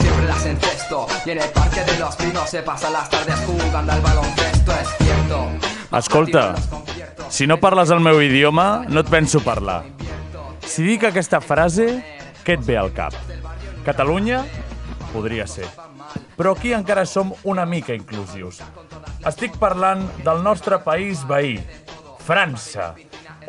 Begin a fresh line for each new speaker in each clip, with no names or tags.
Siempre las encesto. Y en el parque de los pinos se pasan las tardes jugando al baloncesto, es cierto.
Escolta, si no parles el meu idioma, no et penso parlar. Si dic aquesta frase, què et ve al cap? Catalunya? Podria ser. Però aquí encara som una mica inclusius. Estic parlant del nostre país veí, França.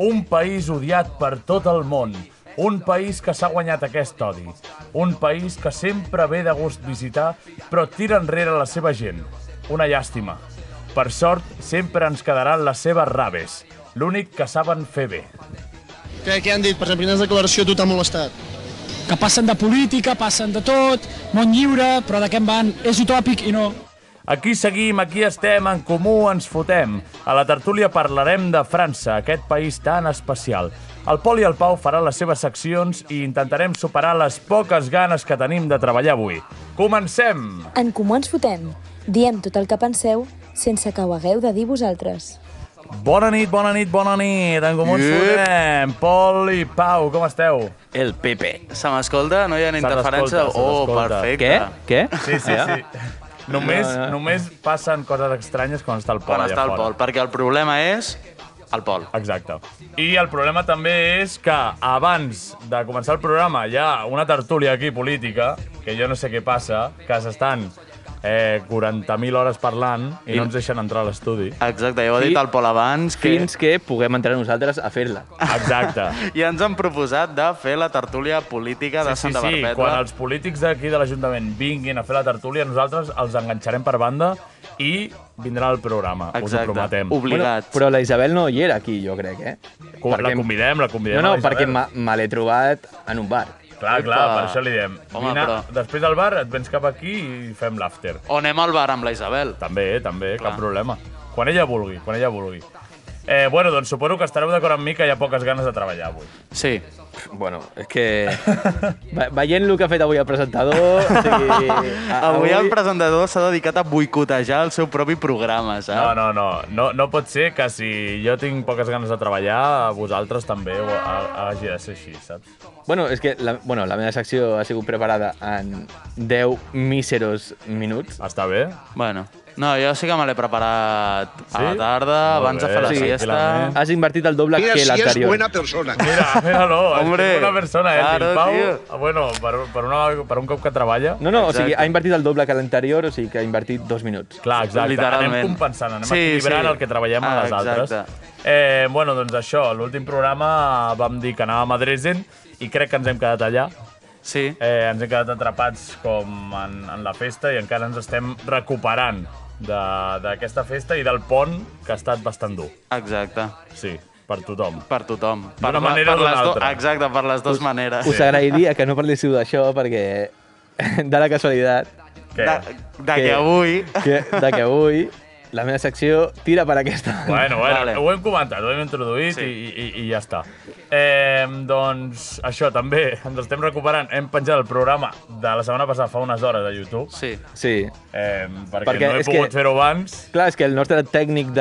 Un país odiat per tot el món. Un país que s'ha guanyat aquest odi. Un país que sempre ve de gust visitar, però tira enrere la seva gent. Una llàstima. Per sort, sempre ens quedaran les seves raves. L'únic que saben fer bé.
Què, què han dit? Per exemple, quines declaració a tu t'ha molestat?
que passen de política, passen de tot, món lliure, però de què en van? És utòpic i no.
Aquí seguim, aquí estem, en comú ens fotem. A la tertúlia parlarem de França, aquest país tan especial. El Pol i el Pau farà les seves seccions i intentarem superar les poques ganes que tenim de treballar avui. Comencem!
En Comú Ens Fotem. Diem tot el que penseu sense que ho hagueu de dir vosaltres.
Bona nit, bona nit, bona nit! En comú ens
Iep.
fotem! Pol i Pau, com esteu?
El Pepe. Se m'escolta? No hi ha interferència?
m'escolta, se
Oh,
m'escolta.
perfecte.
Què? Què?
Sí, sí,
eh?
Ah, sí. Només,
No, no.
només passen coses estranyes quan està el Pol
Ah, Quan
allà
està el
fora.
Pol, perquè el problema és el Pol.
Exacte. I el problema també és que abans de començar el programa hi ha una tertúlia aquí política, que jo no sé què passa, que s'estan eh, 40.000 hores parlant i no ens deixen entrar a l'estudi.
Exacte, ja ho ha dit
Fi-
el Pol abans, que
Fins que puguem entrar nosaltres a fer-la.
Exacte.
ja ens han proposat de fer la tertúlia política de
Sí, sí,
Santa
sí.
Perpètua.
Quan els polítics d'aquí de l'Ajuntament vinguin a fer la tertúlia, nosaltres els enganxarem per banda i vindrà al programa, us ho
Exacte,
prometem.
obligats.
però la Isabel no hi era aquí, jo crec, eh?
Com- La convidem, la convidem.
No, no,
a la
perquè
Isabel.
me, me l'he trobat en un bar.
Clar, clar,
Epa.
per això li diem.
Home,
Vine,
però-
Després del bar et vens cap aquí i fem l'after.
O anem al bar amb la Isabel.
També, eh, també, Clar.
Clar.
cap problema. Quan ella vulgui, quan ella vulgui. Eh, bueno, doncs suposo que estareu d'acord amb mi que hi ha poques ganes de treballar avui.
Sí.
Bueno, és que... Ve- Veient el que ha fet avui el presentador... O sigui, a-
Avui el presentador s'ha dedicat a boicotejar el seu propi programa,
No,
saps?
no, no, no, no pot ser que si jo tinc poques ganes de treballar, vosaltres també ho ha- hagi de ser així, saps?
Bueno, és que la, bueno, la meva secció ha sigut preparada en 10 míseros minuts.
Està bé?
Bueno, no, jo sí que me l'he preparat a la
Sí?
tarda,
Molt
abans de
bé,
fer la
sí,
siesta...
tranquil·lament.
Has invertit el doble
Mira
que
si es
l'anterior.
buena persona.
Mira, mira-lo,
Hombre,
és una persona, eh?
claro,
el Pau,
tio.
bueno, per, per, una, per un cop que treballa...
No, no, o sigui,
Exacte.
ha invertit el doble que l'anterior, o sigui que ha invertit dos minuts.
Clar, exacte.
Literalment.
Anem compensant, anem sí,
Sí,
equilibrant
sí.
el que treballem a
Ah,
les altres.
exacte.
Eh, bueno, doncs això, l'últim programa vam dir que anàvem a Dresden i crec que ens hem quedat allà.
Sí.
Eh, ens hem quedat atrapats com en, en la festa i encara ens estem recuperant de- d'aquesta festa i del pont que ha estat bastant dur.
Exacte,
Sí, per tothom.
per tothom. Per
D'una
la-
manera
per
o d'una
les do-
altra.
Exacte, per les dues maneres.
Us agrairia que no parléssiu d'això perquè de la casualitat
Què?
De, de
Que-
que avui...
que, de que avui la meva secció tira per aquesta banda.
Bueno, bueno, vale.
Vale.
ho hem comentat, ho hem introduït
Sí.
sí. i, i, i ja està. Eh, doncs això també, ens estem recuperant. Hem penjat el programa de la setmana passada fa unes hores a YouTube.
Sí.
Sí.
Eh, perquè,
Perquè
no he
és que-
pogut fer-ho abans.
Clar, és que el nostre tècnic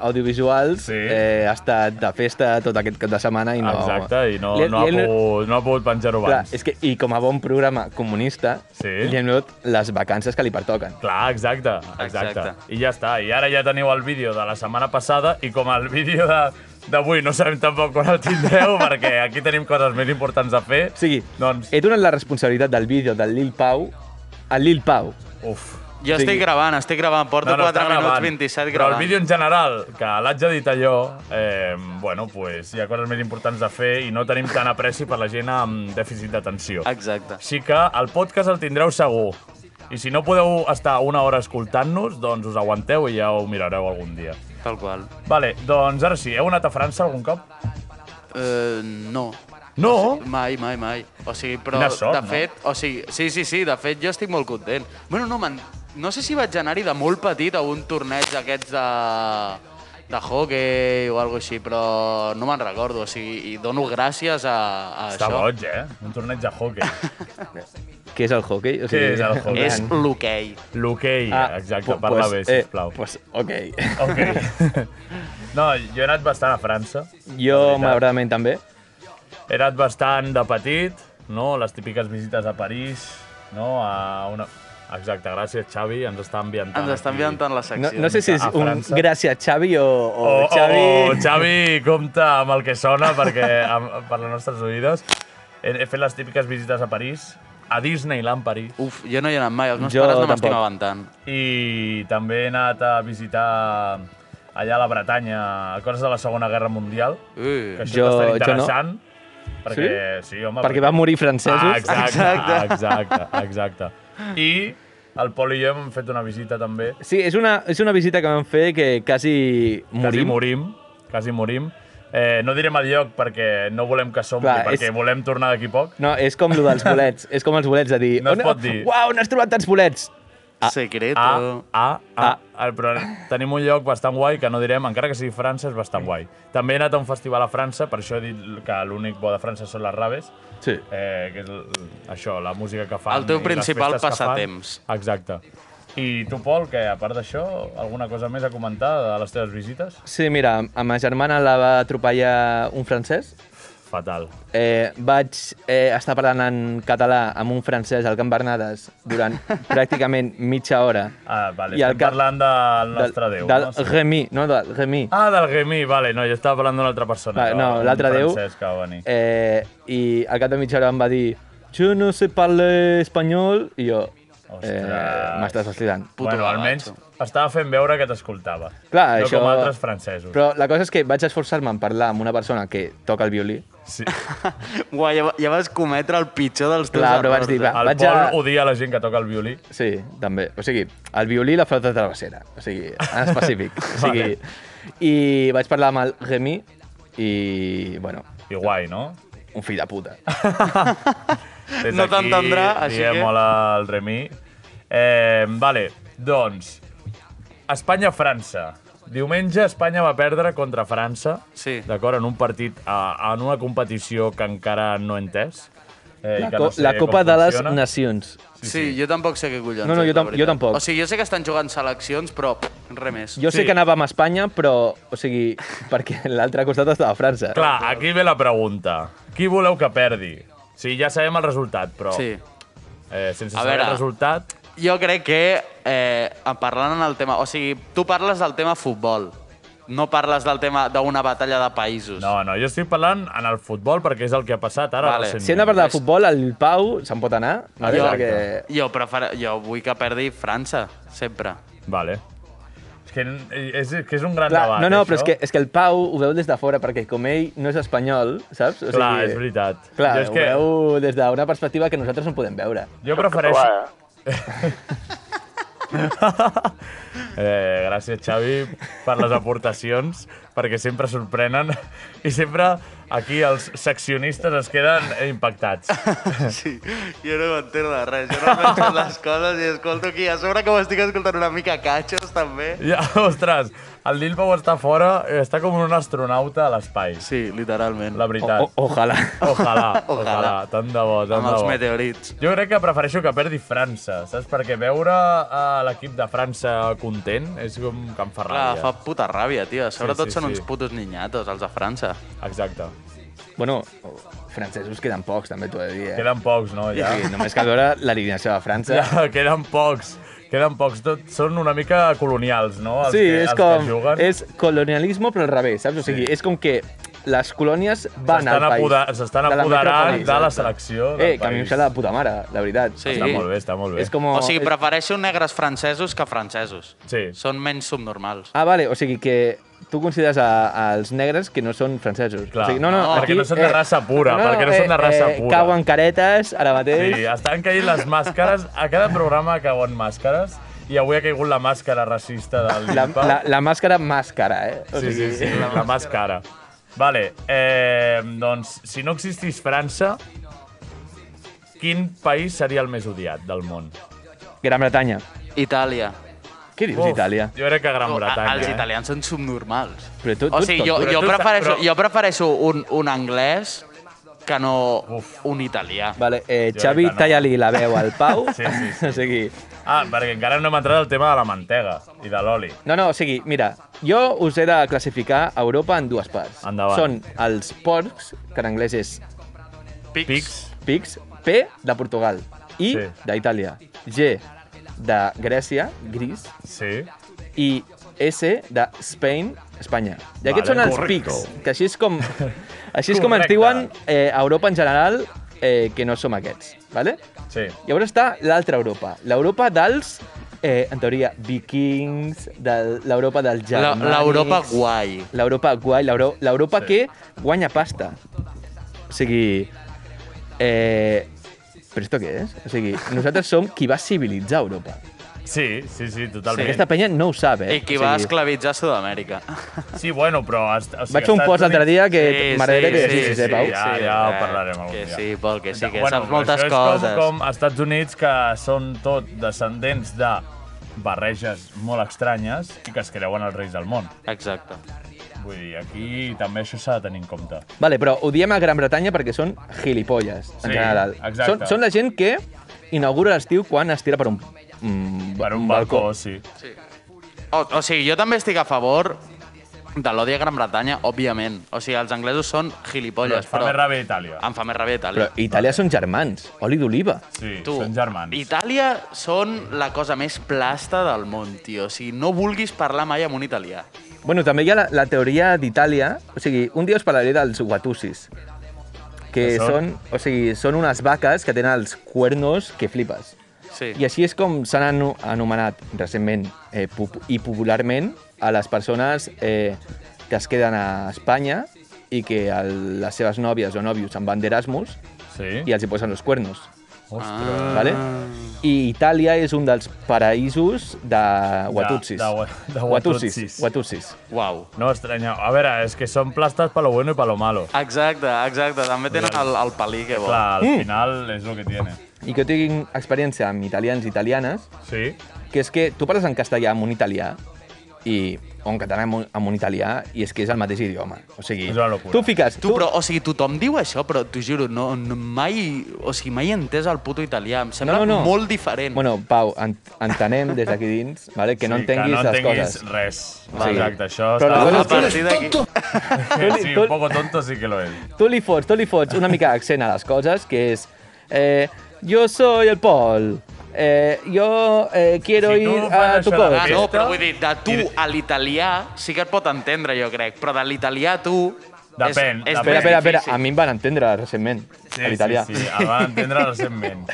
d'audiovisuals
Sí.
eh, ha estat de festa tot aquest cap de setmana i no...
Exacte, i no,
Li-
no, ha,
li hem-
pogut, no ha pogut penjar-ho
Clar,
abans. Clar,
és que, i com a bon programa comunista,
Sí.
li hem dut les vacances que li pertoquen.
exacte, exacte,
Exacte.
I ja està. I ara ja teniu el vídeo de la setmana passada i com el vídeo de d'avui no sabem tampoc quan el tindreu perquè aquí tenim coses més importants a fer.
O sigui,
Doncs,
Eh,
he donat la responsabilitat del vídeo del Lil Pau al Lil Pau.
uf.
Jo
Sí.
estic gravant, estic gravant. Porto
No, no,
4
està
minuts
gravant.
27
Però el
gravant.
vídeo en general, que l'haig edit allò, eh, bueno, pues, hi ha coses més importants a fer i no tenim tant apreci per la gent amb dèficit d'atenció.
Exacte.
Així que el podcast el tindreu segur. I si no podeu estar una hora escoltant-nos, doncs us aguanteu i ja ho mirareu algun dia.
Tal qual.
Vale, doncs ara sí, heu anat a França algun cop?
Eh, no.
No?
Mai, mai, mai. O sigui, però,
Quina sort,
de fet, o sigui, sí, sí, sí, de fet, jo estic molt content. Bueno, no, men
No sé si vaig anar-hi de molt petit a un torneig d'aquests de de hockey o alguna així, però no me'n recordo. O sigui, i dono gràcies a, a
Està
això.
boig, eh? Un torneig de hockey.
Què és el hockey? O
Què és el hockey?
És l'hoquei.
L'hoquei, ah, exacte,
pu-
parla
pues,
bé, sisplau.
Eh, pues, ok.
Ok. No, jo he anat bastant a França.
Jo, malauradament, també.
He anat bastant de petit, no? Les típiques visites a París, no? A una... Exacte, gràcies, Xavi, ens està ambientant.
Ens està
aquí.
enviant la secció.
Ah, No, no sé si és
A
un
França.
gràcies Xavi o, o
O, o,
Xavi...
o Oh, Xavi, compta amb el que sona perquè, amb, per les nostres oïdes. He, he fet les típiques visites a París, a Disneyland París,
Uf, jo no hi he anat mai, els meus
Jo
pares no
tampoc.
m'estimaven tant.
i també he anat a visitar allà a la Bretanya, coses de la Segona Guerra Mundial, que
Ui.
això
Jo-
és bastant
jo no.
interessant. Perquè, sí? home,
Perquè van morir francesos.
Ah, exacte, exacte, exacte. I el Pol i jo hem fet una visita també.
Sí, és una, és una visita que vam fer que quasi
Quasi
morim.
morim, quasi morim. Eh, no direm el lloc perquè no volem que som,
Clar,
perquè
és-
volem tornar d'aquí poc.
No, és com el dels bolets. és com els bolets de dir...
No es
"On-
pot dir."
Uau, on has trobat tants bolets?
Secreto.
A, a, a,
Ah.
a, però tenim un lloc bastant guai que no direm, encara que sigui França, és bastant guai. També he anat a un festival a França, per això he dit que l'únic bo de França són les raves,
Sí.
eh, que és l- això, la música que fan.
El teu
i les
principal
festes que fan.
passatemps.
Exacte. I tu, Pol, que a part d'això, alguna cosa més a comentar de les teves visites?
Sí, mira, a ma germana la va atropellar un francès.
Fatal.
Eh, vaig eh, estar parlant en català amb un francès al Camp Bernades durant pràcticament mitja hora.
Ah, vale,
I el
estem
cap-
parlant del nostre
del,
Déu.
Del
no? Sí.
Remy, no, del Remy.
Ah, del Gemí, vale, no, jo estava parlant d'una altra persona.
Va,
que
no,
va-
l'altre
un
Déu.
francès que va venir.
Eh, I al cap de mitja hora em va dir jo no sé parlar espanyol i jo eh,
Ostres.
m'estàs fastidiant.
Puto
bueno, almenys
gavatxo.
estava fent veure que t'escoltava.
Clar,
no
això-
com altres francesos.
Però la cosa és que vaig esforçar-me en parlar amb una persona que toca el violí.
Sí.
Uai, ja, va- ja vas cometre el pitjor dels teus
Clar, però vaig dir, va,
El
vaig
Pol
a...
odia la gent que toca el violí.
Sí, també. O sigui, el violí i la flauta travessera. O sigui, en específic. O sigui, I vaig parlar amb el Remy i, bueno,
I guai, no?
un fill de puta.
Eh, Des
No
d'aquí
t'entendrà, així
diem
que-
hola al Remi. Eh, vale, doncs... Espanya-França. Diumenge Espanya va perdre contra França,
Sí.
d'acord, en un partit, a, en una competició que encara no he entès. Eh, i
La,
que
co
no sé
la
com
Copa de les
funciona.
Nacions.
Sí, sí, jo tampoc sé què collons.
No, no,
és,
jo
la
tam- jo
veritat.
tampoc.
O sigui, jo sé que estan jugant seleccions, però pff, res més.
Jo
Sí.
sí. sé que anàvem a Espanya, però, o sigui, perquè a l'altre costat estava França.
Clar, aquí ve la pregunta. Qui voleu que perdi? Sí, ja sabem el resultat, però
Sí.
eh, sense
A
saber el
veure.
resultat...
Jo crec que, eh, en parlant en el tema... O sigui, tu parles del tema futbol. No parles del tema d'una batalla de països.
No, no, jo estic parlant en el futbol perquè és el que ha passat ara
Vale.
recentment.
Si hem de parlar de futbol, el Pau se'n pot anar. Vale?
jo,
Perquè...
eh?
jo, prefer... jo vull que perdi França, sempre.
Vale. És que és, és que és un gran
Clar,
debat, eh,
no, no,
això.
però és que, és que el Pau ho veu des de fora, perquè com ell no és espanyol, saps? O
Clar, és veritat.
Clar,
Jo és que-
ho veu des d'una perspectiva que nosaltres no podem veure.
Jo prefereixo... Eh, gràcies, Xavi, per les aportacions, perquè sempre sorprenen i sempre aquí els seccionistes es queden impactats.
Sí, jo no m'entero de res. Jo no penso les coses i escolto aquí. A sobre que ho estic escoltant una mica catxos, també.
Ja, ostres, el Lil Pau està fora, eh, està com un astronauta a l'espai,
Sí, literalment.
la
O,
veritat.
o, ojalà.
Ojalà,
Ojalà.
ojalà, tant de bo, tant
Amb
de
els
bo.
meteorits.
Jo crec que prefereixo que perdi França, saps? Perquè veure a l'equip de França content és com que em fa
Clar,
ràbia.
fa puta ràbia, tio. A sobre
Sí,
sí,
sí,
tots sí, són
sí.
uns putos niñatos, els de França.
Exacte.
Bueno, francesos queden pocs, també t'ho he de dir, eh?
Queden pocs, no, ja?
Sí, només cal veure l'alineació de França.
Ja, queden pocs. Queden pocs. Tot, són una mica colonials, no? Els
Sí,
que,
és
els
com...
Que juguen.
És colonialisme, però al revés, saps? O sigui, és com que les colònies van
S'estan
al país.
apoder- s'estan
de la
apoderant
metròpoli.
de la selecció del
Eh, que a mi em
país.
sembla de puta mare, la veritat.
Sí.
Està molt bé, està molt bé.
És com...
O sigui, prefereixo negres francesos que francesos.
eh, Sí.
Són menys subnormals.
Ah, vale, o sigui que tu consideres a- als negres que no són francesos.
Clar,
o sigui, no, no, eh,
no, perquè no són de raça pura, perquè no són de raça pura.
Cauen eh, caretes ara mateix.
Sí, estan caient les màscares. A cada programa cauen màscares i avui ha caigut la màscara racista del
La,
Limpa.
la, la màscara màscara, eh? O
Sí, sí,
sigui,
sí, la màscara. Vale, eh, doncs, si no existís França, quin país seria el més odiat del món?
Gran Bretanya.
Itàlia.
Què dius, Itàlia?
Jo crec que Gran
No,
Bretanya.
Oh, a- els
eh?
italians són subnormals.
Però tu-
o sigui,
tu-
jo,
però
jo,
tu-
prefereixo,
però-
jo prefereixo un, un anglès que no un italià.
Vale, eh,
Jo
Xavi,
crec que no.
talla-li la veu al Pau.
Sí, sí, sí.
O sigui,
Ah, perquè encara no hem entrat al tema de la mantega i de l'oli.
no, no, o sigui, mira, jo us he de classificar Europa en dues parts.
Endavant.
Són els porcs, que en anglès és
Pics.
Pics,
pigs, P de Portugal, I
Sí.
d'Itàlia, G de Grècia, gris,
sí.
i S de Spain, Espanya. I aquests
Vale,
són els
correcte.
pics, que així és com, així és com ens
Correcte.
diuen eh, a Europa en general eh, que no som aquests, ¿vale?
Sí.
Llavors està l'altra Europa, l'Europa dels, eh, en teoria, vikings, de l'Europa dels
La-
germànics...
L'Europa guai.
L'Europa guai, l'Euro- l'Europa
Sí.
sí. que guanya pasta. O sigui... Eh, però esto què és? O sigui, nosaltres som qui va civilitzar Europa.
Sí, sí, sí, totalment.
Aquesta penya no ho sap, eh?
I qui va
O sigui,
esclavitzar Sud-amèrica.
Sí, bueno, però... has- O sigui,
Vaig fer un
Estats
post l'altre
Units-
dia que
Sí, eh,
m'agradaria que
sí,
sí, sí,
eh, sí,
sí, Pau.
ja, ja ho parlarem algun
que
dia.
sí, Pol, que sí, que
Bueno,
saps
però
moltes
això és
coses.
Com, com Estats Units, que són tot descendents de barreges molt estranyes i que es creuen els reis del món.
Exacte.
Vull dir, aquí també això s'ha de tenir en compte.
Vale, però odiem a Gran Bretanya perquè són gilipolles, en
Sí,
general.
exacte.
Són, són la gent que inaugura l'estiu quan es tira per un, mm,
Per un balcó, sí.
O, o sigui, jo també estic a favor de l'odi a Gran Bretanya, òbviament. O sigui, els anglesos són
Però
gilipolles,
es fa
però...
més ràbia a Itàlia.
Em fa més ràbia
Però
Itàlia.
Itàlia són germans, oli d'oliva.
Sí, són germans.
Itàlia són la cosa més plasta del món, tio. O sigui, no vulguis parlar mai amb un italià.
Bueno, també hi ha la, la teoria d'Itàlia, o sigui, un dia us parlaré dels watussis, que
Que són?
són, o sigui, són unes vaques que tenen els cuernos que flipes.
Sí.
I així és com s'han anu- anomenat recentment eh, pop i popularment a les persones eh, que es queden a Espanya i que el, les seves nòvies o nòvios se'n van d'Erasmus
Sí.
i els hi posen els cuernos.
Ostres.
Vale? I Itàlia és un dels paraïsos de Watutsis.
de wa- de
Watutsis.
Watutsis.
Watutsis.
Uau.
No estranyeu. A veure, és que són plastes pa lo bueno i pa lo malo.
Exacte, exacte. També tenen el, el pelí que vol.
Clar, al final és el que tiene.
I que tinc experiència amb italians i italianes,
Sí.
que és que tu parles en castellà amb un italià i, o en català amb un, amb un italià i és que és el mateix idioma. O sigui,
És una locura.
tu fiques...
Tu, però, o sigui, tothom diu això, però t'ho juro, no, no, mai, o sigui, mai he entès el puto italià. Em sembla
No, no, no.
molt diferent.
Bueno, Pau, en, entenem des d'aquí dins vale, que no entenguis
que no
les
entenguis
coses.
res.
Vale.
Exacte, això
Però la
a
cosa és que-
partir d'aquí...
Sí,
tu-
un poco tonto sí que lo és.
Tu li fots, tu li fots una mica accent a les coses, que és... Eh, jo soy el Pol. Eh, jo eh, quiero
Si tu
ir
fas
a tu
això de
cos.
Ah, no,
Aquesta-
però vull dir, de tu
i-
a l'italià sí que et pot entendre, jo crec, però de l'italià a tu...
Depèn,
És,
depèn.
és més
Espera, espera, espera.
difícil.
A mi em van entendre recentment,
Sí,
a l'italià.
Sí, sí, el van entendre recentment.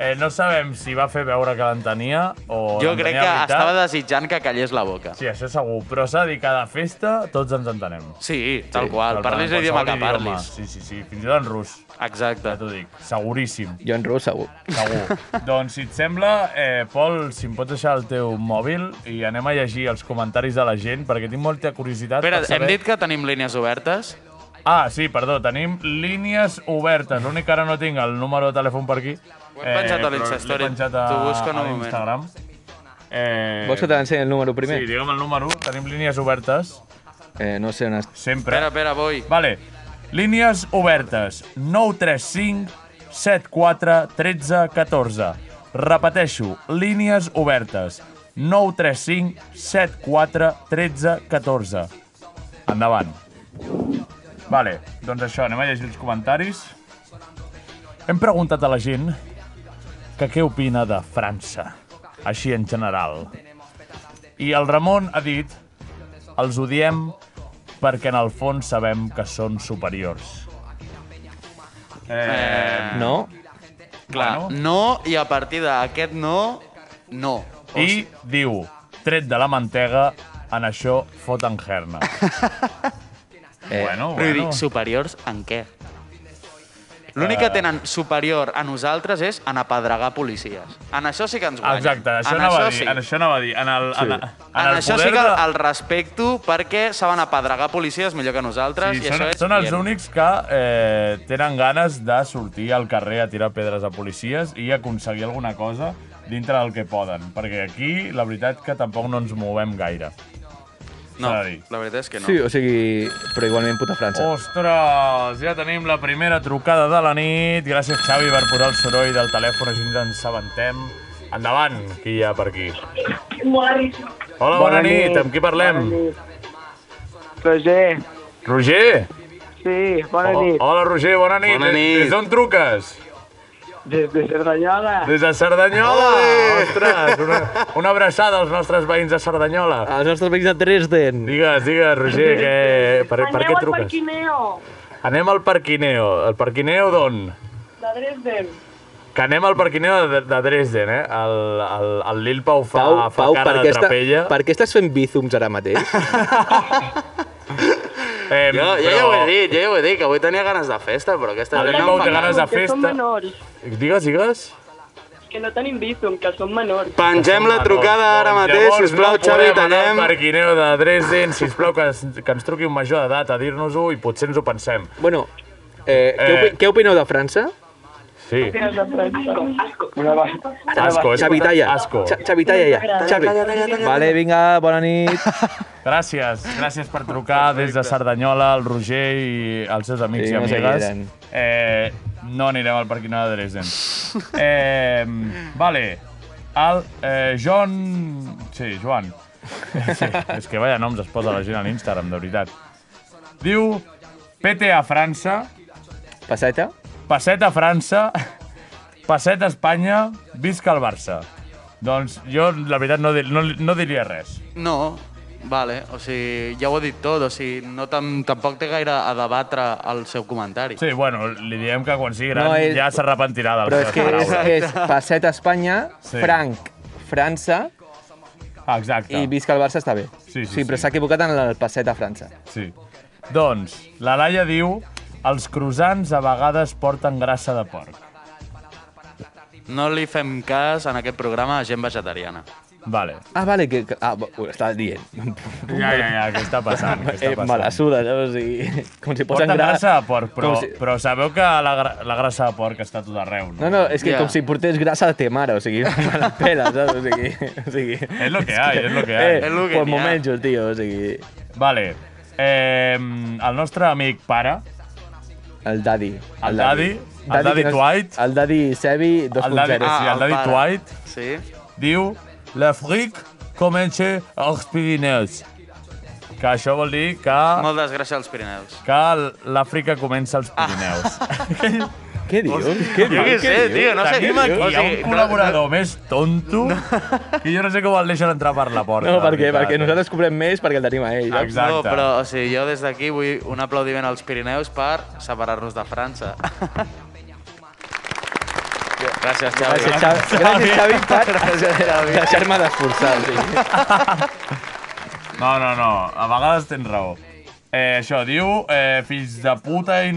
Eh, no sabem si va fer veure que l'entenia o
Jo
l'entenia
crec
de
que
veritat.
estava desitjant que callés la boca.
Sí, això segur, però s'ha de dir cada festa tots ens entenem.
Sí, tal qual.
Per
Parlis
tant,
l'idioma que
qualsevol idioma.
parlis.
Sí, sí, sí, fins i tot en rus,
Exacte.
ja t'ho dic, seguríssim,
Jo en rus, segur.
Eh, segur. doncs, si et sembla, eh, Pol, si em pots deixar el teu mòbil i anem a llegir els comentaris de la gent, perquè tinc molta curiositat
Espera,
per
hem
saber...
dit que tenim línies obertes?
Ah, sí, perdó, tenim línies obertes. L'únic que ara no tinc el número de telèfon per aquí. Eh,
Ho hem penjat a
però
l'Instastory.
l'he penjat a,
T'ho busco en un
a
moment.
l'Instagram. Eh,
Vols que te l'ensenyi el número primer?
Sí, digue'm el número. Tenim línies obertes,
Eh, no sé on està.
sempre.
Espera, espera, voy.
Vale. Línies obertes. 935 74 13 14. Repeteixo, línies obertes. 935 74 13 14. Endavant. Vale, doncs això, anem a llegir els comentaris. Hem preguntat a la gent que què opina de França, així en general. I el Ramon ha dit els odiem perquè en el fons sabem que són superiors. Eh,
No?
Clar,
Bueno.
no, i a partir d'aquest no, no. O
I diu, tret de la mantega, en això foten gerna.
Eh,
bueno, bueno.
Però
Eh.
dic, superiors en què? L'únic que tenen superior a nosaltres és en apedregar policies. En això sí que ens guanyen.
Exacte, això
en
anava a
això
dir.
sí.
En això anava a dir. En el, en, en,
En,
el
això
poder
sí que
de-
el respecto perquè saben apedregar policies millor que nosaltres.
Sí,
i
són,
això és
són els
bien.
únics que eh, tenen ganes de sortir al carrer a tirar pedres a policies i aconseguir alguna cosa dintre del que poden, perquè aquí la veritat que tampoc no ens movem gaire.
No,
S'ha de dir.
la veritat és que no.
Sí, o sigui, però igualment puta França.
Ostres, ja tenim la primera trucada de la nit. Gràcies, Xavi, per posar el soroll del telèfon, així ens en sabentem. Endavant, qui hi ha per aquí? Hola, bona,
Bona
nit.
nit.
Amb qui parlem?
Bona nit. Roger,
Roger.
sí, bona
Ho-
nit.
Hola, Roger, bona nit.
Bona
Des-
nit.
Des d'on truques?
Des de Cerdanyola.
Des de Cerdanyola. Ostres, una, una abraçada als nostres veïns de Cerdanyola.
Els nostres amics de Dresden.
Digues, digues, Roger, que, per, per què truques?
Quineo,
Anem al Parquineo. El Parquineo d'on?
de Dresden.
Que anem al Parquineo de, de Dresden, eh? El, el, el Lil Pau fa,
Pau,
fa
Pau,
cara
per
de
què, està,
trapella.
per què estàs fent bízums ara mateix?
Eh,
Jo, jo ja ho he dit, jo ja ho he dit, que avui tenia ganes de festa, però aquesta...
El
no
Lil
em
Pau
fa
té ganes de
Que són
festa.
menors,
Digues, digues.
que no tenim visum, que són menors.
Pengem la trucada ara mateix,
Ah, Llavors,
sisplau,
no
Xavi,
podem anar
tenem...
al Parquineo de Dresden, sisplau, que, ens- que ens truqui un major d'edat a dir-nos-ho i potser ens ho pensem.
bueno, eh, què,
Eh.
opi què opineu de França?
Sí.
Tires de premsa. Una va...
Asco, eh?
Xavi, talla.
Asco.
Xa- Xavi, talla ja. Xavi. Vale, vinga, bona nit.
Gràcies, gràcies per trucar des de Cerdanyola, el Roger i els seus amics
Sí,
i
no sé qui
amigues.
eren.
Eh, no anirem al Parquinó de Dresden. Eh, vale, el eh, John... Sí, Joan. Sí, és que vaya noms es posa la gent a l'Instagram, de veritat. Diu PT a França,
Passeta?
Passet a França, Passet a Espanya, visca el Barça. Doncs jo, la veritat, no, di no, no diria res.
No, vale, o sigui, ja ho he dit tot, o sigui, no tam tampoc té gaire a debatre el seu comentari.
Sí, bueno, li diem que quan sigui gran
No,
no,
és-
ja s'arrepentirà de
Però
les
és
seves
que és,
paraules.
és Passeta Espanya,
Sí.
Franc França
Ah, Exacte,
i Visca el Barça està bé.
Sí, sí,
però
sí.
s'ha equivocat en el Passeta França.
sí. Doncs, la Laia diu els croissants a vegades porten grassa de porc.
No li fem cas en aquest programa a gent vegetariana.
Vale.
Ah, vale, que, que ah, ho estava dient.
Ja, ja, ja, què està passant? Què està
Eh, me la
passant?
suda, eh? o sigui, com si posen
Porten
gra...
grassa de porc, però,
com si-
però sabeu que la, gra- la grassa de porc està a tot arreu, no?
No, no, és que
Ja.
com si portés grassa de te mare, o sigui, me la pela, saps? O sigui, o sigui...
És lo que hay, és lo que hay.
Eh,
És lo que n'hi
pues
ha.
m'ho menjo, tio, o sigui...
Vale. Eh, el nostre amic pare,
El Daddy.
El Daddy? El Daddy
que no és-
Dwight?
El Daddy Sebi 2.0.
el Daddy, sí, el Daddy
Ah, pare.
Dwight,
Sí?
diu l'Afric comença als Pirineus. Que això vol dir que,
Moltes gràcies als Pirineus.
que l'Àfrica comença als Pirineus. Ah,
Què dius? Què
Jo Ah.
dius?
què sé, tio, no sé.
Tenim aquí
O
a
sigui,
un
no-
col·laborador més tonto que jo no sé com el deixen entrar per la porta.
No,
la
perquè,
veritat. eh.
perquè nosaltres cobrem més perquè el tenim a ell. saps?
Exacte.
No, però o sigui, jo des d'aquí vull un aplaudiment als Pirineus per separar-nos de França. Gràcies, Xavi.
Gràcies, Xavi, gràcies, Xavi per deixar-me d'esforçar. O sigui.
No, no, no, a vegades tens raó. Eh, això, diu eh, fills de puta in,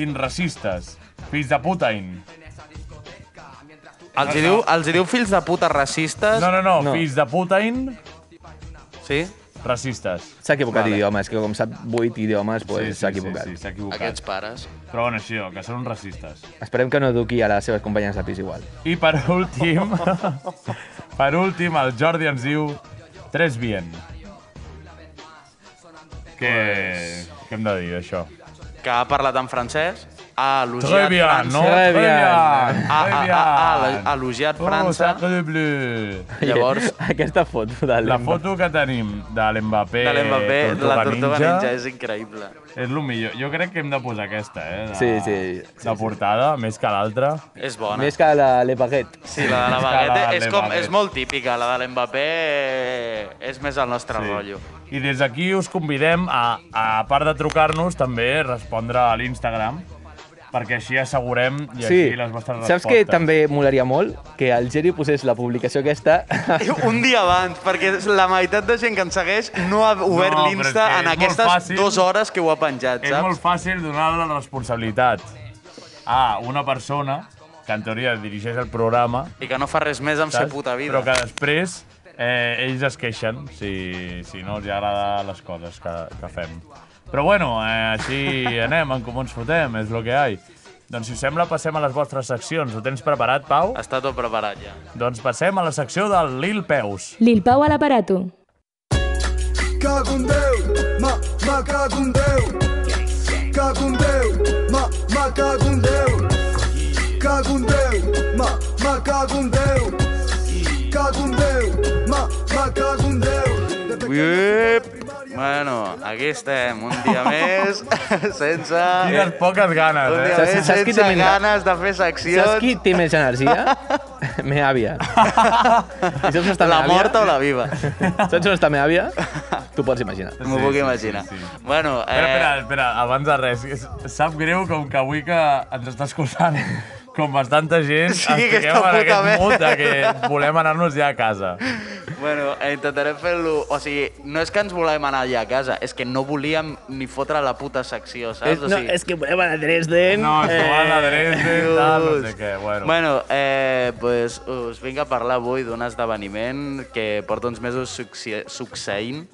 inracistes. Fills de puta in.
Els hi, diu, els hi diu fills de puta racistes,
No, no, no,
No.
no. fills de puta in
sí?
racistes.
S'ha equivocat
Vale.
d'idioma, és que com sap 8 idiomes,
Sí,
doncs
sí,
s'ha
sí,
equivocat.
Sí, s'ha equivocat.
Aquests pares.
Però bueno, això, que són uns racistes.
Esperem que no duqui a les seves companyes de pis igual.
I per últim, per últim, el Jordi ens diu tres bien. Què, què hem de dir d'això?
que ha parlat en francès,
Très
ha elogiat
bien,
França,
no? Très bien.
ha,
Très
ha,
bien.
ha, ha elogiat
Oh,
França,
sacre Eh, bleu.
llavors
Aquesta foto
La
de l'Emba-
foto que tenim de l'Mbappé,
de l'Mbappé,
Tortuga
la Tortuga
Ninja,
Ninja és increïble.
és el millor. Jo crec que hem de posar aquesta, eh? De,
Sí, sí, sí,
La portada, més que l'altra.
És bona.
Més que la Lepaguet.
Sí, la de la
Més que
bagueta
la
és, com,
Mbappé.
és molt típica, la de l'Mbappé eh, és més el nostre sí. rotllo.
I des d'aquí us convidem a, a part de trucar-nos, també respondre a l'Instagram, perquè així assegurem i així les vostres respostes.
Saps que també molaria molt? Que el Geri posés la publicació aquesta
Un dia abans, perquè la meitat de gent que ens segueix no ha obert
No, però és
l'Insta
que és
en
molt
aquestes
fàcil.
dues hores que ho ha penjat,
És
saps?
molt fàcil donar la responsabilitat a una persona que en teoria dirigeix el programa,
I que no fa res més amb sa
saps?
puta vida.
però que després eh, ells es queixen si, si no els agrada les coses que, que fem. Però bueno, eh, així anem, en comú ens fotem, és el que hi ha. Doncs si us sembla, passem a les vostres seccions. Ho tens preparat, Pau?
Està tot preparat ja.
Doncs passem a la secció del Lil
Eh,
Peus.
Lil Pau a l'aparato.
Cago en Déu, ma, ma cago en Déu. Cago en Déu, ma, ma cago en Déu. Cago en Déu, ma, ma cago en Déu. Cago en Déu, ma, ma cago en Déu. De
Uep. Bueno, aquí estem, un dia més, sense...
Quines poques ganes,
Un dia
eh?
Saps-
més,
saps qui té
sense
menys-
ganes de fer
Saps
seccions.
qui té més energia? Me àvia. I saps on està
La
me àvia?
morta o la viva?
Saps on està me àvia? T'ho pots imaginar.
M'ho puc imaginar. Bueno, eh...
Espera, espera, espera, abans de res. és- Sap greu com que avui que ens està escoltant com bastanta gent
Sí, que
estiguem
està
en
puta
aquest
merda.
mood de que volem anar-nos ja a casa.
Bueno, eh, intentarem fer-lo... O sigui, no és que ens volem anar allà a casa, és que no volíem ni fotre la puta secció, saps? o sigui,
que volem anar a Dresden.
No, és que van a Dresden, tal, no sé què, bueno.
eh, Bueno, eh, pues, us vinc a parlar avui d'un esdeveniment que porta uns mesos succe succeint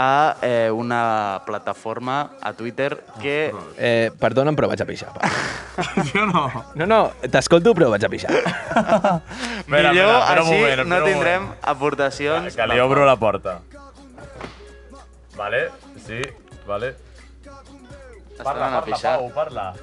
a eh, una plataforma a Twitter que...
Eh, perdona'm, però vaig a pixar. va.
Jo no.
No, no, t'escolto, però vaig a pixar.
Espera,
millor
espera, espera un moment,
així no
espera un
tindrem doncs,
moment.
aportacions...
Que li obro la porta. Vale, sí, vale.
Estaven a pixar.
Pau, parla.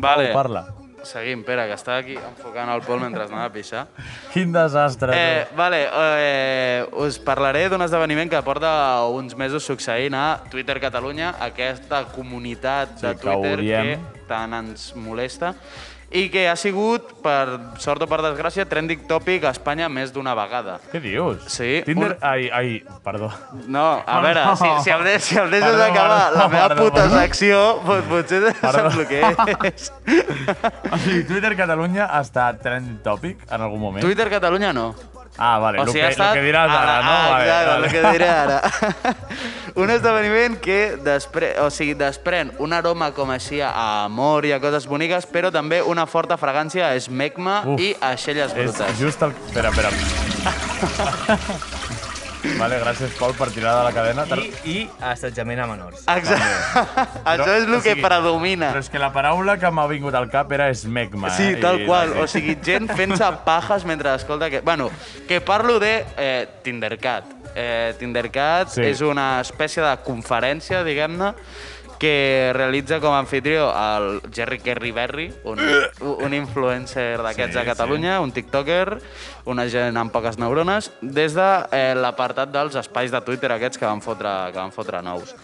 Vale,
Parla.
seguim, Pere, que estava aquí enfocant el Pol mentre anava a pixar.
Quin desastre.
Eh,
tu.
vale, eh, us parlaré d'un esdeveniment que porta uns mesos succeint a Twitter Catalunya, aquesta comunitat
Sí,
de
que
Twitter
odiem.
que tant ens molesta i que ha sigut, per sort o per desgràcia, trending topic a Espanya més d'una vegada.
Què dius?
sí,
Tinder...
un-
Ai, ai, perdó.
No, a
Oh,
veure,
no.
si, si el, de, si el deixes
Perdó,
acabar
perdó,
la meva
perdó,
puta
perdó.
secció, pot, potser desbloqueés.
O sigui, Twitter Catalunya ha estat trend topic en algun moment?
Twitter Catalunya no.
Ah, vale,
O
lo,
sigui,
que,
ha estat...
lo que diràs ara, no?
Ah,
vale,
exacte,
vale.
el que diré ara. un esdeveniment que despre... o sigui, desprèn un aroma com així a amor i a coses boniques, però també una forta fragància a esmecma
Uf.
i a aixelles
És
brutes.
just el... Espera, espera. vale, gràcies, Pol, per tirar de la cadena.
I, i assetjament a menors.
Exacte. Això és el
o
que
sigui,
predomina.
Però és que la paraula que m'ha vingut al cap era smegma.
Sí,
eh?
tal
I-
qual.
sí.
O sigui, gent fent-se pajas mentre escolta que... Bueno, que parlo de eh, Tindercat. Eh, Tindercat
Sí.
sí. és una espècie de conferència, diguem-ne, que realitza com a anfitrió el Jerry Kerry Berry, un, un influencer d'aquests
Sí,
sí, a Catalunya, sí. un tiktoker, una gent amb poques neurones, des de eh, l'apartat dels espais de Twitter aquests que van fotre, que van fotre nous.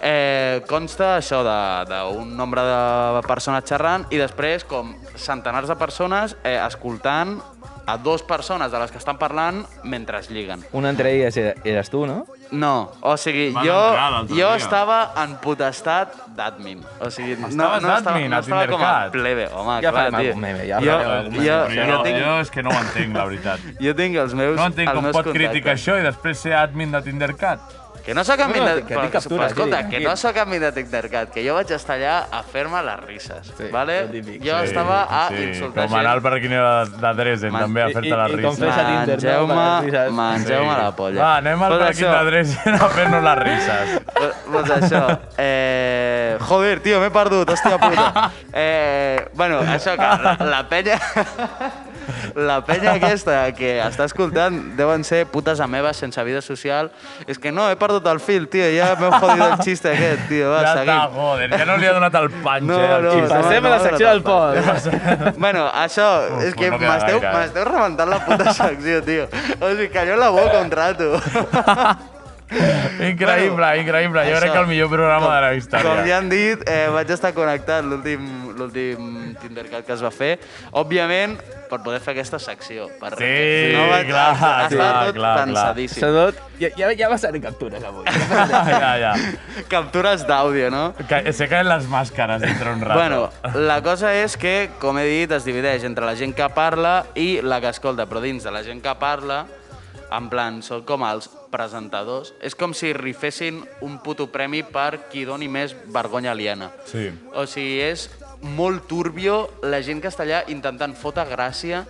Eh, consta això de- d'un nombre de persones xerrant i després com centenars de persones eh, escoltant a dos persones de les que estan parlant mentre es lliguen.
Una entre elles era- eres tu, no?
No, o sigui,
Van
jo,
entrar l'altre
jo
dia.
estava en potestat d'admin. O sigui, no, no
Estaves
estava,
d'admin
no
a
estava com a
Tindercat?
plebe, home,
Ja
clar,
farem
tio.
algun meme, ja
jo,
farem algun meme,
jo,
Però jo,
jo,
no,
tinc,
jo és que no ho entenc, la veritat.
jo tinc els meus,
No entenc
els
com
meus
pot
contactes.
criticar això i després ser admin de Tindercat.
Que no sóc admin
No, no,
de...
que
Però,
tinc captura,
escolta,
sí,
que no
tranquil.
sóc admin de Tindercat, que jo vaig estar allà a fer-me les risses,
Sí,
vale?
el típic,
Jo
sí,
estava a
sí,
insultar
Com anar al
gent.
barquinero de, de Dresden,
Man-
també, a
i- i-
fer-te la
i
risa.
com fes a Tinder, no? Per les
Mengeu-me
risses.
mengeu la polla.
Va, anem al
Tot
barquinero
això-
de Dresden a fer-nos les rises.
Pues- Pues això. Eh... Joder, tio, m'he perdut, hòstia puta. Eh... Bueno, això, que la, la penya... La penya aquesta que està escoltant deuen ser putes a meves sense vida social. És que no, he perdut el fil, tio, ja m'he jodit el xiste aquest, tio, va,
ja està,
seguim.
joder, ja no li ha donat el panx,
No,
eh? el
no,
xiste.
Passem a la secció del Pol.
Bueno, això,
Uf,
és que
no queda
m'esteu
gaire, eh?
m'esteu rebentant la puta secció, tio. O sigui, calleu la boca un rato.
Increïble,
Bueno,
increïble. Jo
això,
crec que el millor programa de la història.
Com ja han dit, eh, vaig estar connectat l'últim l'últim Tindercat que es va fer. Òbviament, per poder fer aquesta secció. Per
Sí, clar,
Estava
clar, clar,
tot
clar.
pensadíssim.
Sadot, ja, ja, ja vas a tenir captures avui.
ja, ja.
Captures d'àudio, no?
Ca- Se caen les màscares entre un rato.
Bueno, la cosa és que, com he dit, es divideix entre la gent que parla i la que escolta, però dins de la gent que parla, en plan, són com els presentadors. És com si rifessin un puto premi per qui doni més vergonya aliena.
Sí.
O sigui, és molt turbio la gent que està allà intentant fotre gràcia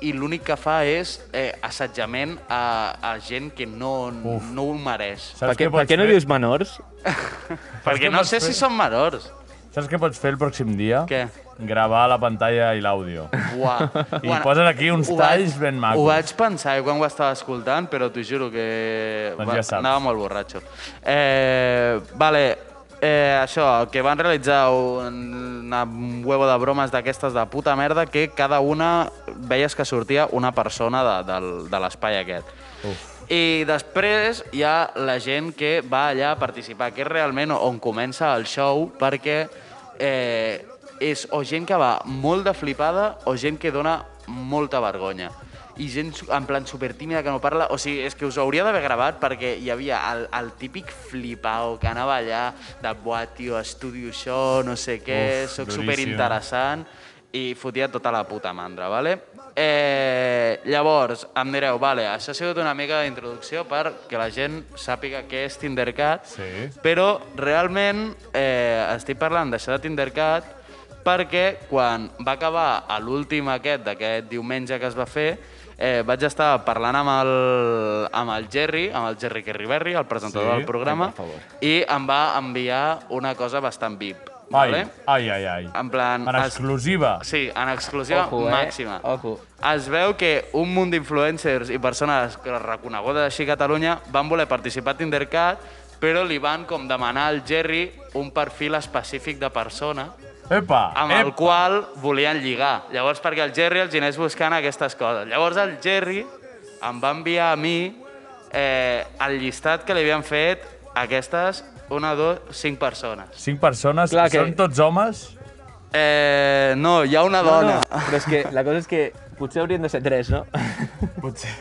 i l'únic que fa és eh, assetjament a, a gent que no, no ho mereix.
Saps
Per què,
pots
per què no
fer?
dius menors?
Perquè no sé si són menors.
Saps què pots fer el pròxim dia?
Què?
Gravar la pantalla i l'àudio.
Uah.
I poses aquí uns
ho vaig-
talls ben macos.
Ho vaig pensar jo quan ho estava escoltant, però t'ho juro que
Doncs ja saps.
anava molt borratxo. Eh, vale, eh, això, que van realitzar un, una huevo de bromes d'aquestes de puta merda que cada una veies que sortia una persona de, del- de l'espai aquest. I després hi ha la gent que va allà a participar, que és realment on comença el show, perquè eh, és o gent que va molt de flipada o gent que dona molta vergonya. I gent su- en plan supertímida que no parla... O sigui, és que us hauria d'haver gravat perquè hi havia el, el típic flipao que anava allà de buah, tio, estudio això, no sé
Uf,
què, Uf, soc
duríssim.
superinteressant i fotia tota la puta mandra, vale? Eh, llavors, em direu, vale, això ha sigut una mica d'introducció perquè la gent sàpiga què és Tindercat,
sí.
però realment eh, estic parlant d'això de Tindercat perquè quan va acabar a l'últim aquest d'aquest diumenge que es va fer, eh, vaig estar parlant amb el, amb el Jerry, amb el Jerry Kerriberri, el presentador
Sí.
del programa,
Ai, per favor.
i em va enviar una cosa bastant VIP.
Ai,
Vale?
ai, ai, ai.
En plan...
En exclusiva.
Es, sí, en
Ah.
exclusiva
Ojo, eh?
màxima. Ojo. Es veu que un munt d'influencers i persones reconegudes així a Catalunya van voler participar a Tindercat, però li van com demanar al Jerry un perfil específic de persona
Epa,
amb el qual volien lligar. Llavors, perquè el Jerry els hi anés buscant aquestes coses. Llavors, el Jerry em va enviar a mi eh, el llistat que li havien fet aquestes, una, dos, cinc persones.
Cinc persones, Clar que... són tots homes?
Eh, no, hi ha una dona.
No, però és que la cosa és que potser haurien de ser tres, no?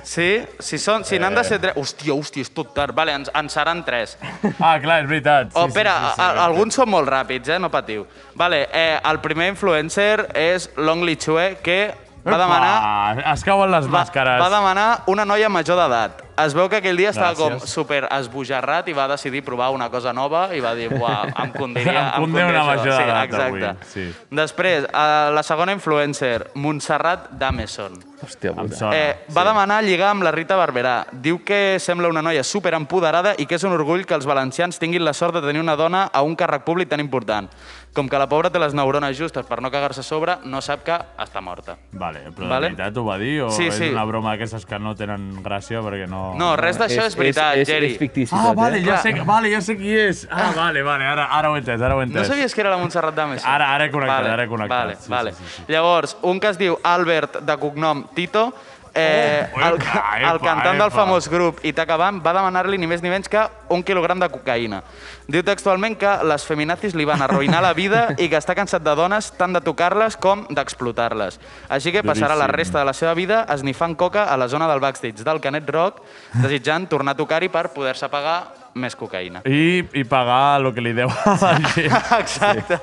Sí? Si, són, si n'han de ser
Eh.
tres... Hòstia, hòstia, és tot tard. Vale, ens, en seran tres.
Ah, clar, és veritat.
Oh, espera, a- a- alguns són molt ràpids, eh? no patiu. Vale, eh, el primer influencer és Long Li Chue, que va demanar,
Ah, es cauen les màscares.
va demanar una noia major d'edat. Es veu que aquell dia estava com
Gràcies.
super esbojarrat i va decidir provar una cosa nova i va dir, buah, em condiria,
em conde una
això".
major
sí,
d'edat
exacte.
avui. Sí.
Després, eh, la segona influencer, Montserrat Dameson.
Hòstia,
em
puta.
sona.
Eh, va demanar lligar amb la Rita Barberà. Diu que sembla una noia super empoderada i que és un orgull que els valencians tinguin la sort de tenir una dona a un càrrec públic tan important. Com que la pobra té les neurones justes per no cagar-se a sobre, no sap que està morta.
Vale, però
Vale.
vale. de veritat ho va dir? O
Sí,
és
sí.
una broma d'aquestes que no tenen gràcia perquè no...
No, res d'això és, veritat, Jerry.
Ah,
eh?
vale, ja sé, vale, ja sé qui és. Ah, vale, vale, ara, ara ho he entès, ara ho he entès.
No sabies que era la Montserrat Dames?
Ara, ara he connectat,
Vale,
ara he connectat.
Vale,
Sí,
vale. Llavors, un que es diu Albert, de cognom Tito, eh,
Oh,
el,
epa,
el
epa,
cantant del
epa.
famós grup Itaca Band va demanar-li ni més ni menys que un quilogram de cocaïna. Diu textualment que les feminazis li van arruïnar la vida i que està cansat de dones tant de tocar-les com d'explotar-les. Així que passarà la
Duríssim.
resta de la seva vida esnifant coca a la zona del backstage del Canet Rock, desitjant tornar a tocar-hi per poder-se pagar més cocaïna.
I, I pagar el que li deu a
Ah.
la gent.
Exacte.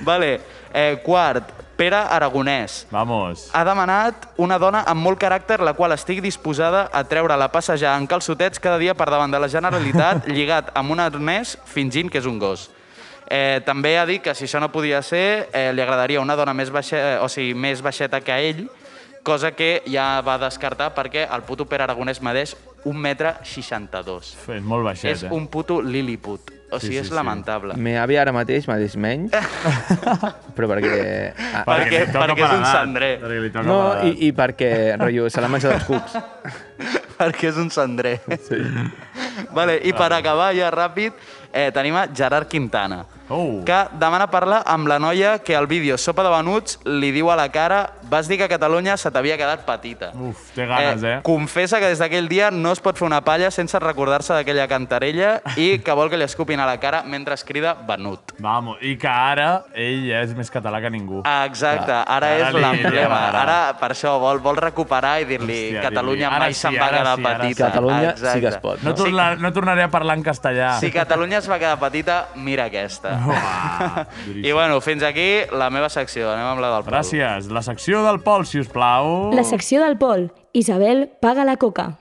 Vale. Eh, quart, Pere Aragonès.
Vamos.
Ha demanat una dona amb molt caràcter la qual estic disposada a treure-la a passejar en calçotets cada dia per davant de la Generalitat lligat amb un arnès fingint que és un gos. Eh, també ha dit que si això no podia ser, eh, li agradaria una dona més, baixe, o sigui, més baixeta que ell, cosa que ja va descartar perquè el puto Pere Aragonès medeix 1,62 m.
És molt baixet,
És
eh?
un puto lilliput. O
Sí,
sigui,
sí,
és
sí.
lamentable.
Me àvia ara mateix m'ha dit menys, però perquè...
Perquè-
Ah,
Perquè li toca perquè és per un edat, cendrer. perquè li toca
No,
per
i, i perquè, rotllo, se l'ha menjat els cucs.
perquè és un cendrer. Sí. Vale, I per acabar ja ràpid, eh, tenim a Gerard Quintana,
oh.
que demana parlar amb la noia que al vídeo Sopa de Venuts li diu a la cara vas dir que Catalunya se t'havia quedat petita.
Uf, té ganes, eh?
Confessa que des d'aquell dia no es pot fer una palla sense recordar-se d'aquella cantarella i que vol que li escupin a la cara mentre es crida venut.
Vamos, i que ara ell ja és més català que ningú.
Ah, Exacte, ara és
li- li
l'emblema.
agradarà.
Ara, per això, vol, vol recuperar i dir-li
Hòstia,
Catalunya
dir-li, ara
mai
sí,
se'n va
ara
quedar
sí, ara sí.
petita.
Catalunya sí que es
Exacte.
pot, no? No tornar- no tornaré a parlar en castellà.
Si Catalunya es va quedar petita, mira aquesta.
Oh,
Ah.
Uah,
I bueno, fins aquí la meva secció. Anem amb la del Pol.
Gràcies. La secció del Pol, si us plau.
La secció del Pol. Isabel paga la coca.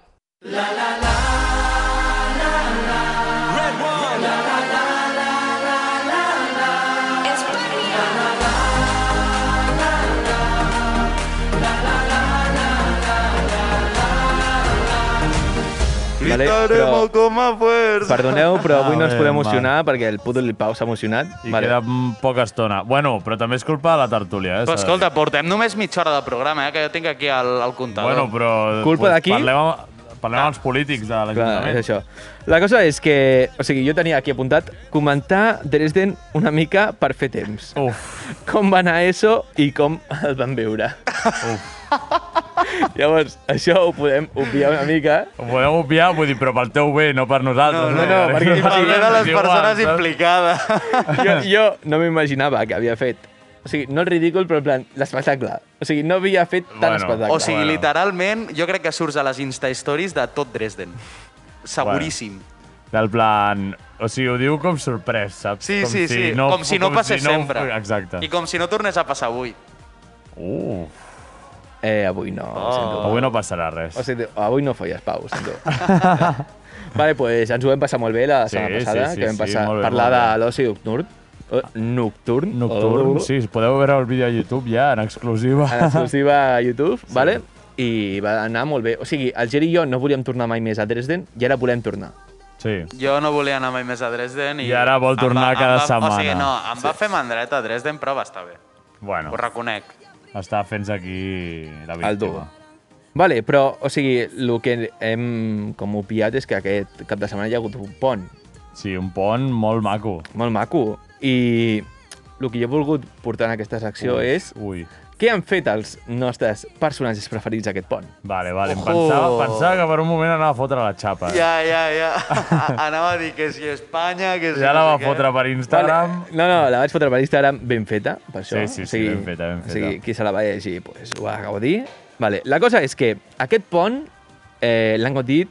La, Vale,
Estaremos
però-
con más fuerza.
Perdoneu, però avui no ens
Ah,
podem
bé,
emocionar perquè el puto del Pau s'ha emocionat.
I vale. queda mm, poca estona. Bueno, però també és culpa de la tertúlia, eh? s'ha de
Però
dir.
escolta, portem només mitja hora de programa, eh, que jo tinc aquí el, el comptador.
Bueno, però...
Culpa
pues,
d'aquí?
Parlem, amb, parlem
Ah.
amb els polítics de
Clar, és
l'Ajuntament.
això. La cosa és que, o sigui, jo tenia aquí apuntat comentar Dresden una mica per fer temps.
Uf.
Com va anar ESO i com el van veure.
Uf.
Llavors, això ho podem obviar una mica.
Ho podem obviar, vull dir, però pel teu bé, no per nosaltres.
No, no, perquè-
I per veure les
és igual,
persones
saps?
implicades.
Jo, jo no m'imaginava que havia fet o sigui, no el ridícul, però en plan, l'espectacle. O sigui, no havia fet tant
Bueno,
espectacle.
O sigui, literalment, jo crec que surts a les Insta-stories de tot Dresden. Seguríssim.
Del plan... O sigui, ho diu com sorprès, saps?
Sí,
com
sí, sí. com si no passés sempre.
Exacte.
I com si no tornés a passar avui.
Uh,
Eh, avui no, oh. sento.
avui no passarà res.
O sigui, avui no folles, Pau, ho sento. vale, pues ens ho vam passar molt bé la
Sí,
setmana passada,
sí, sí,
que vam
sí,
passar,
molt bé,
parlar
molt bé.
de l'oci nocturn. Eh, Nocturn.
Nocturn,
Oh.
sí, podeu veure el vídeo a YouTube ja, en exclusiva.
Ah, En exclusiva a YouTube, sí. vale? I va anar molt bé. O sigui, el Geri i jo no volíem tornar mai més a Dresden i ara volem tornar.
Sí.
Jo no volia anar mai més a Dresden. I,
I ara vol
em
tornar
em
cada
O sigui,
setmana.
no, em va fer mandreta a Dresden, però va estar bé.
Bueno,
Ho reconec.
està fent-se aquí la víctima.
El duo. Vale, però, o sigui, el que hem com opiat és que aquest cap de setmana hi ha hagut un pont
Sí, un pont molt maco.
molt maco i el que jo he volgut portar en aquesta secció
Ui,
és
Ui.
què han fet els nostres personatges preferits d'aquest pont.
Vale, vale. Em
Ojo.
pensava, pensava que per un moment anava a fotre la xapa. eh?
Ja, ja, ja. Anava a dir que si Espanya, que si...
ja la
no
va
sé què.
fotre per Instagram. Vale.
No, no, la vaig fotre per Instagram ben feta, per això.
Sí, sí, sí, ben feta, ben
O sigui,
feta.
qui se la va llegir, pues, ho va gaudir. Vale, la cosa és que aquest pont eh, l'han gaudit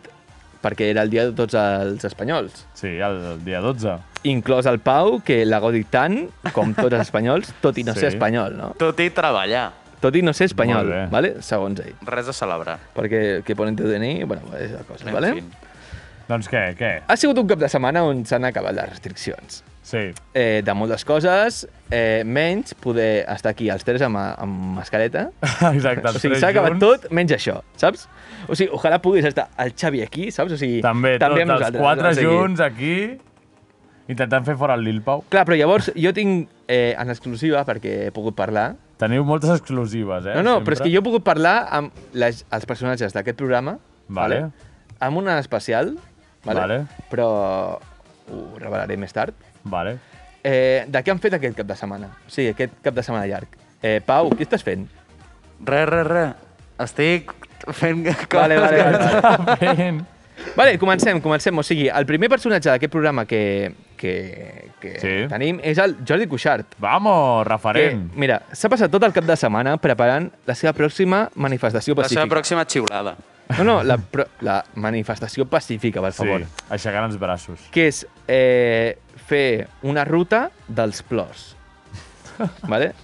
perquè era el dia de tots els espanyols,
Sí, el, el dia 12.
inclòs el Pau, que l'ha gaudit tant com tots els espanyols, tot i no
Sí.
ser espanyol, no?
Tot i treballar.
Tot i no ser espanyol,
Molt bé.
vale? segons ell.
Res a celebrar.
Perquè el que ponen teu DNI, bueno, és la cosa,
En
vale?
fin.
Doncs què, què?
Ha sigut un cap de setmana on s'han acabat les restriccions.
Sí,
eh, de moltes coses, eh, menys poder estar aquí els tres amb, amb mascareta.
exacte.
O
els
sigui,
tres
s'ha acabat
junts.
tot menys això, saps? O sigui, ojalà puguis estar el Xavi aquí, saps? O sigui,
També, també
amb
tots els
nosaltres,
quatre
o sigui.
junts aquí, intentant fer fora el Lil Pau.
Clar, però llavors jo tinc eh, en exclusiva, perquè he pogut parlar...
Teniu moltes exclusives, eh?
No, no,
sempre.
però és que jo he pogut parlar amb les, els personatges d'aquest programa,
Vale.
amb una especial, vale?
Vale.
però ho revelaré més tard,
Vale.
eh, de què han fet aquest cap de setmana. O sigui, aquest cap de setmana llarg. Eh, Pau, què estàs fent?
Re, re, re. Estic fent...
Vale, vale, vale, vale.
Ben.
Vale, comencem, comencem. O sigui, el primer personatge d'aquest programa que, que, que sí.
Sí.
tenim és el Jordi Cuixart.
Vamos, referent.
Que, mira, s'ha passat tot el cap de setmana preparant la seva pròxima manifestació
La
pacífica.
seva pròxima xiulada.
No, no, la, pro- la manifestació pacífica, per favor.
Sí, aixecant els braços.
Que és eh, fer una ruta dels plors. vale?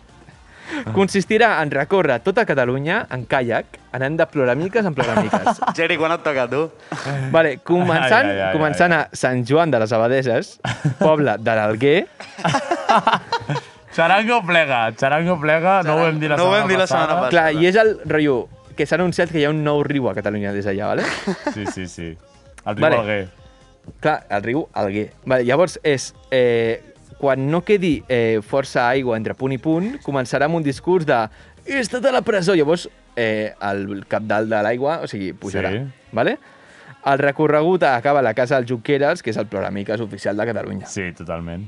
Consistirà en recórrer tota Catalunya en caiac, anant de ploramiques en ploramiques.
Geri, quan et toca a tu?
Vale, començant,
Ai, ai, ai,
començant
ai,
a Sant Joan de les Abadeses, poble de l'Alguer,
Charango plega, charango plega, no ho vam dir la
No ho
setmana
vam dir la setmana
passada.
passada.
clar, i és el rotllo que s'ha anunciat que hi ha un nou riu a Catalunya des d'allà, vale?
Sí, sí, sí. El riu
Vale.
vale. Alguer.
Clar, el riu Alguer. Vale, llavors és... Eh, quan no quedi eh, força aigua entre punt i punt, començarà amb un discurs de he estat a la presó. Llavors, eh, el cap dalt de l'aigua, o sigui, pujarà.
Sí.
Vale? El recorregut acaba a la casa dels Junqueras, que és el ploramiques oficial de Catalunya.
Sí, totalment.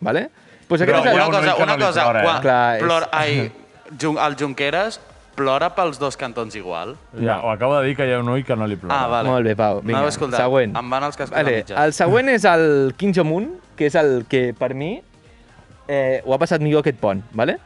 Vale? Pues
Però
aquest és el...
una
un
cosa,
noi que
una
no li
cosa,
plora, eh?
quan
Clar, és-
plora, ai, Jun, el Junqueras plora pels dos cantons igual.
Ja, ho acabo de dir que hi ha un ull que no li plora.
Ah, vale.
Molt bé, Pau. Vinga,
M'heu escoltat.
següent.
Em van els cascos
Vale,
vale, mitjans.
el següent és el Kim Jong-un, que és el que, per mi, eh, ho ha passat millor aquest pont, vale?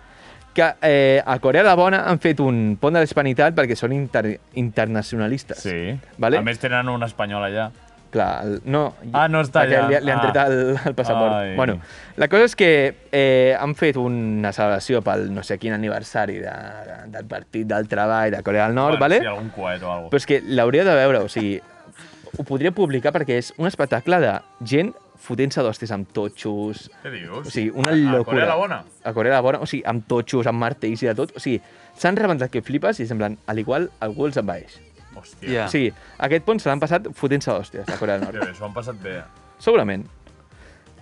que eh, a Corea la Bona han fet un pont de l'hispanitat perquè són inter internacionalistes.
Sí.
Vale?
A més, tenen un espanyol allà.
Clar, el, no,
Ah, no està
perquè
allà.
Li, li han tret
Ah.
el, el passaport.
Ai.
Bueno, la cosa és que eh, han fet una celebració pel no sé quin aniversari de, de, del Partit del Treball de Corea del Nord,
Bueno,
vale?
Sí, algun coet o alguna
Però és que l'hauria de veure, o sigui, ho podria publicar perquè és un espectacle de gent fotent-se d'hòsties amb totxos...
Què dius?
O sigui, una
A- a
locura.
Corea la Bona?
A Corea la Bona, o sigui, amb totxos, amb martells i de tot. O sigui, s'han rebentat que flipes i semblen, al igual, algú els envaeix.
Hòstia.
Yeah. O sigui, aquest pont se l'han passat fotent-se hòsties a Corea del Nord.
Hòstia, bé, s'ho han passat bé.
Segurament.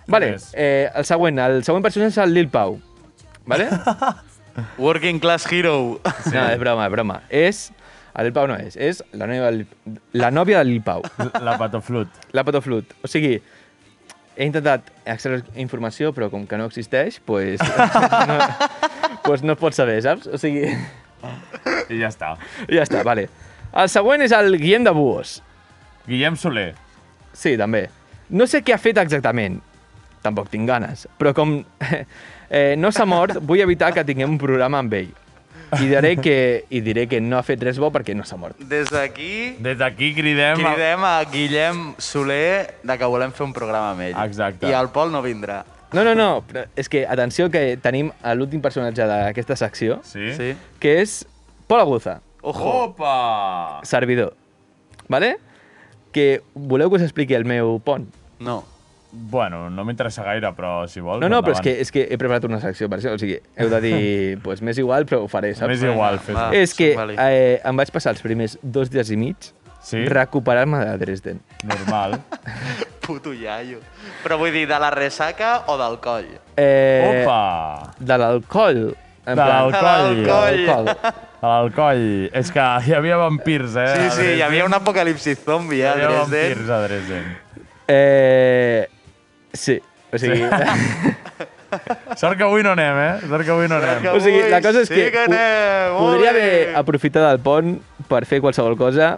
Vale, eh, el següent. El següent personatge és el Lil Pau. Vale?
Working Class Hero.
Sí. No, és broma, és broma. És... El Lil Pau no és. És la nòvia, del- la nòvia del Lil Pau.
La patoflut.
La patoflut. O sigui, he intentat extreure informació, però com que no existeix, pues, no, pues no es pot saber, saps? O sigui...
I ja està.
I ja està, vale. El següent és el Guillem de Buos.
Guillem Soler.
Sí, també. No sé què ha fet exactament. Tampoc tinc ganes. Però com eh, no s'ha mort, vull evitar que tinguem un programa amb ell. I diré que, i diré que no ha fet res bo perquè no s'ha mort.
Des d'aquí...
Des d'aquí cridem...
Cridem a Guillem Soler de que volem fer un programa amb ell. Exacte. I el Pol no vindrà.
No, no, no, però és que atenció que tenim a l'últim personatge d'aquesta secció,
sí?
Sí.
que és Pol Aguza,
Ojo.
Oh. Opa!
servidor. Vale? Que voleu que us expliqui el meu pont?
No.
Bueno, no m'interessa gaire, però si vols...
No, no, però és
endavant.
que, és que he preparat una secció per això, o sigui, heu de dir, pues, m'és igual, però ho faré, saps? Ah,
M'és igual, fes-ho. Va,
És que
vale.
eh, em vaig passar els primers dos dies i mig
Sí?
recuperar-me de Dresden.
Normal.
Puto iaio. Però vull dir, de la ressaca o del coll?
Eh,
Opa!
De l'alcohol.
De
en plan-
l'alcohol.
De l'alcohol.
De l'alcohol. És que hi havia vampirs, eh?
Sí,
a
sí, hi
Dresden.
havia un apocalipsis zombi,
Hi
eh, a
havia
Dresden.
vampirs a Dresden.
Eh, sí, o sigui... Sí.
Sort que avui no anem, eh? Sort que avui no anem.
o sigui, la cosa és que,
que
po-
anem, ole!
podria haver aprofitat el pont per fer qualsevol cosa,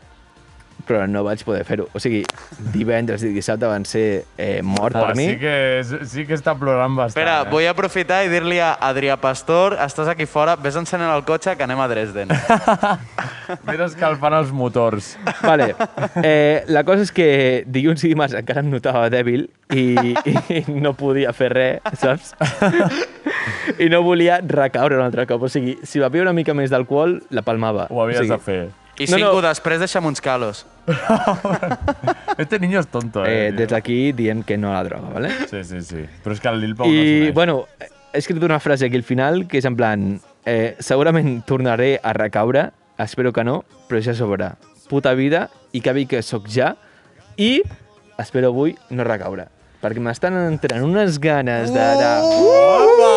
però no vaig poder fer-ho. O sigui, divendres i dissabte van ser eh, mort
Home,
per mi.
Sí que, és- sí que està plorant bastant.
Espera,
eh?
vull aprofitar i dir-li a Adrià Pastor, estàs aquí fora, vés encenent el cotxe que anem a Dresden.
Vés escalfant els motors.
Vale. Eh, la cosa és que dilluns i dimarts encara em notava dèbil i, i no podia fer res, saps? I no volia recaure un altre cop. O sigui, si bevia una mica més d'alcohol, la palmava.
Ho havies
o sigui,
de fer.
I cinco no, no. després de Xamunscalos.
Este niño es tonto, eh?
Eh, des d'aquí diem que no a la droga, vale?
Sí, sí, sí. Però és que el Lil Pau no
I,
s'uneix.
bueno, he escrit una frase aquí al final que és en plan eh, segurament tornaré a recaure, espero que no, però ja s'obrà. Puta vida, i que bé que sóc ja, i espero avui no recaure. Perquè m'estan entrant unes ganes de... de...
Oh! Opa!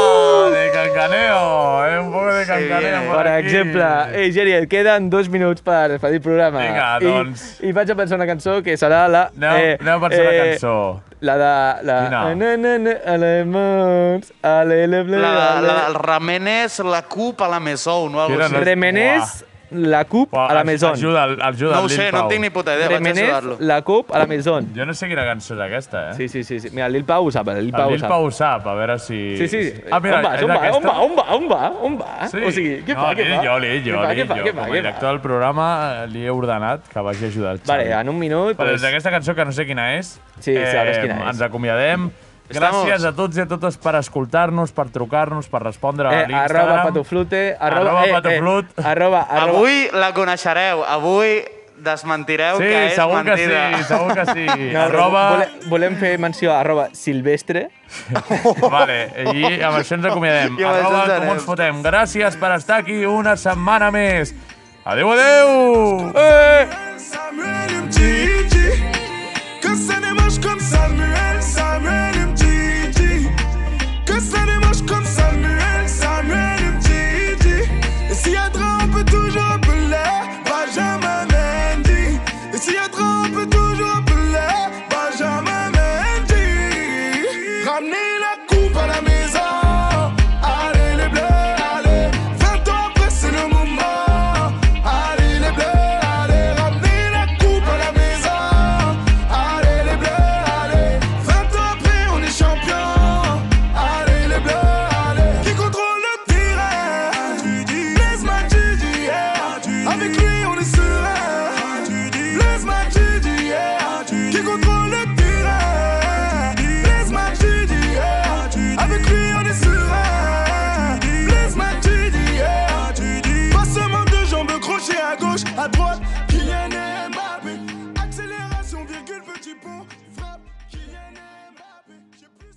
De cancaneo, eh? Un poco de cancaneo por,
Per
aquí.
exemple, eh, ei, Geri, et queden dos minuts per, per dir programa.
Vinga, doncs.
I, I vaig a pensar una cançó que serà la... eh,
Aneu, aneu a pensar una cançó.
La de... La,
Quina?
Na, na, na, alemans, ale, le, ble,
La, la,
ale.
la, el Ramenés, la CUP a la Mesón o alguna cosa així.
Remenés, la CUP a la Maison.
Ajuda, ajuda el
No ho
Lil
sé, no
Pau.
en tinc ni puta idea, vaig a
Remenés,
ajudar-lo.
la CUP a la Maison.
Jo no sé quina cançó és aquesta, eh?
Sí, sí, sí. sí. Mira, el Lil Pau ho sap, el Lil
El
Pau ho
Lil
sap.
Pau ho sap, a veure si...
Sí, sí.
Ah, mira,
on, vas,
és
on, va,
aquesta?
on va, on va, on va, on va?
Sí.
O sigui, què
no,
fa, què
li,
fa?
Jo, li, jo,
Què fa,
li,
què fa,
jo.
què fa,
Com a
què fa?
director del programa eh, li he ordenat que vagi a ajudar el Xavi.
Vale, en un minut...
Però
pues,
des d'aquesta cançó, que no sé quina és, eh,
Sí, sabràs quina és.
ens acomiadem.
Estamos.
Gràcies a tots i a totes per escoltar-nos, per trucar-nos, per respondre a
Eh,
l'Instagram.
arroba patoflute, arroba,
Arroba
eh,
patoflut.
Eh, arroba, arroba.
Avui la coneixereu, avui desmentireu
Sí,
que és
segur que
mentida.
sí, segur que sí.
No,
arroba-
Volem, volem fer menció a arroba silvestre.
Vale, i amb això ens acomiadem.
I amb això
Arroba
ens
com
anem.
ens fotem. Gràcies per estar aquí una setmana més. Adéu, adéu!
Eh!
Samuel Mtiti Que c'est des moches comme Samuel, Samuel